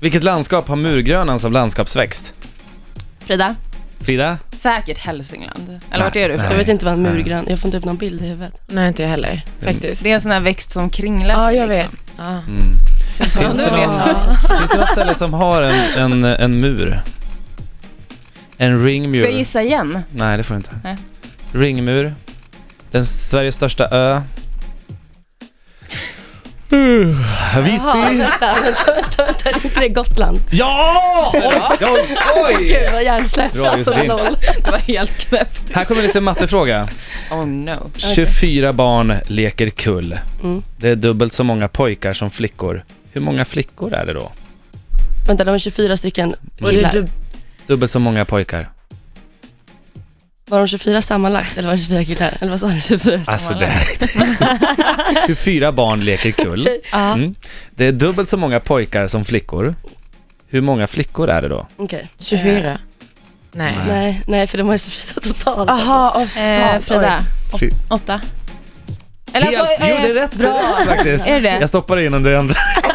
Vilket landskap har murgrönan som landskapsväxt? Frida? Frida? Säkert Hälsingland. Eller vart Nej, är du nej. ifrån? Jag vet inte vad en murgrön, jag får inte upp någon bild i huvudet. Nej, inte jag heller faktiskt. Det är en sån här växt som kringlar Ja, sig, jag vet. liksom. Ja. Mm. Så Finns du det vet. någon- Finns det något ställe som har en, en, en mur? En ringmur? Får jag gissa igen? Nej, det får du inte. Nej. Ringmur. Den Sveriges största ö. Uh, Jaha, Visby. vänta, vänta, vänta, vänta, är inte det Gotland? Ja! Oj, oj, oj! Gud vad hjärnsläpp Bra, alltså, Josefin. noll. Det var helt knäppt. Här kommer en liten mattefråga. Oh no. 24 barn leker kull. Mm. Det är dubbelt så många pojkar som flickor. Hur många flickor är det då? Vänta, de var 24 stycken Och det är killar. du... Dubbelt så många pojkar. Var de 24 sammanlagt eller var det 24 killar? Eller vad sa du? 24 Alltså det sammanlagt? här 24 barn leker kull. Okej, ja. Mm. Det är dubbelt så många pojkar som flickor. Hur många flickor är det då? okej. 24. Nej. Nej. Nej, nej för de var ju 24 totalt alltså. Jaha, och Eh, totalt. Frida? Fy- Åt, åtta? Helt, alltså, jo eh, det är rätt bra faktiskt. Är det det? Jag stoppade in den andra.